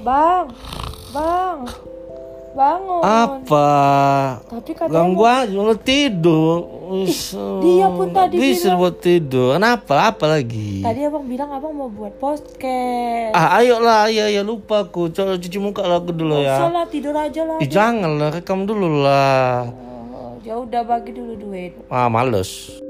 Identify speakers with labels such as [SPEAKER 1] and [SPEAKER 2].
[SPEAKER 1] Bang, bang, bangun.
[SPEAKER 2] Apa?
[SPEAKER 1] Tapi katanya
[SPEAKER 2] Ganggu aja lu tidur. Us,
[SPEAKER 1] dia pun tadi
[SPEAKER 2] bisa
[SPEAKER 1] bilang-
[SPEAKER 2] buat tidur. Kenapa? Apa lagi?
[SPEAKER 1] Tadi abang bilang abang mau buat podcast.
[SPEAKER 2] Ah, ayo lah, ya ya lupa aku. Coba cuci muka lah aku dulu ya.
[SPEAKER 1] Salah tidur aja lah.
[SPEAKER 2] Ih, jangan lah, rekam dulu lah.
[SPEAKER 1] Oh, Ya udah bagi dulu duit.
[SPEAKER 2] Ah, males.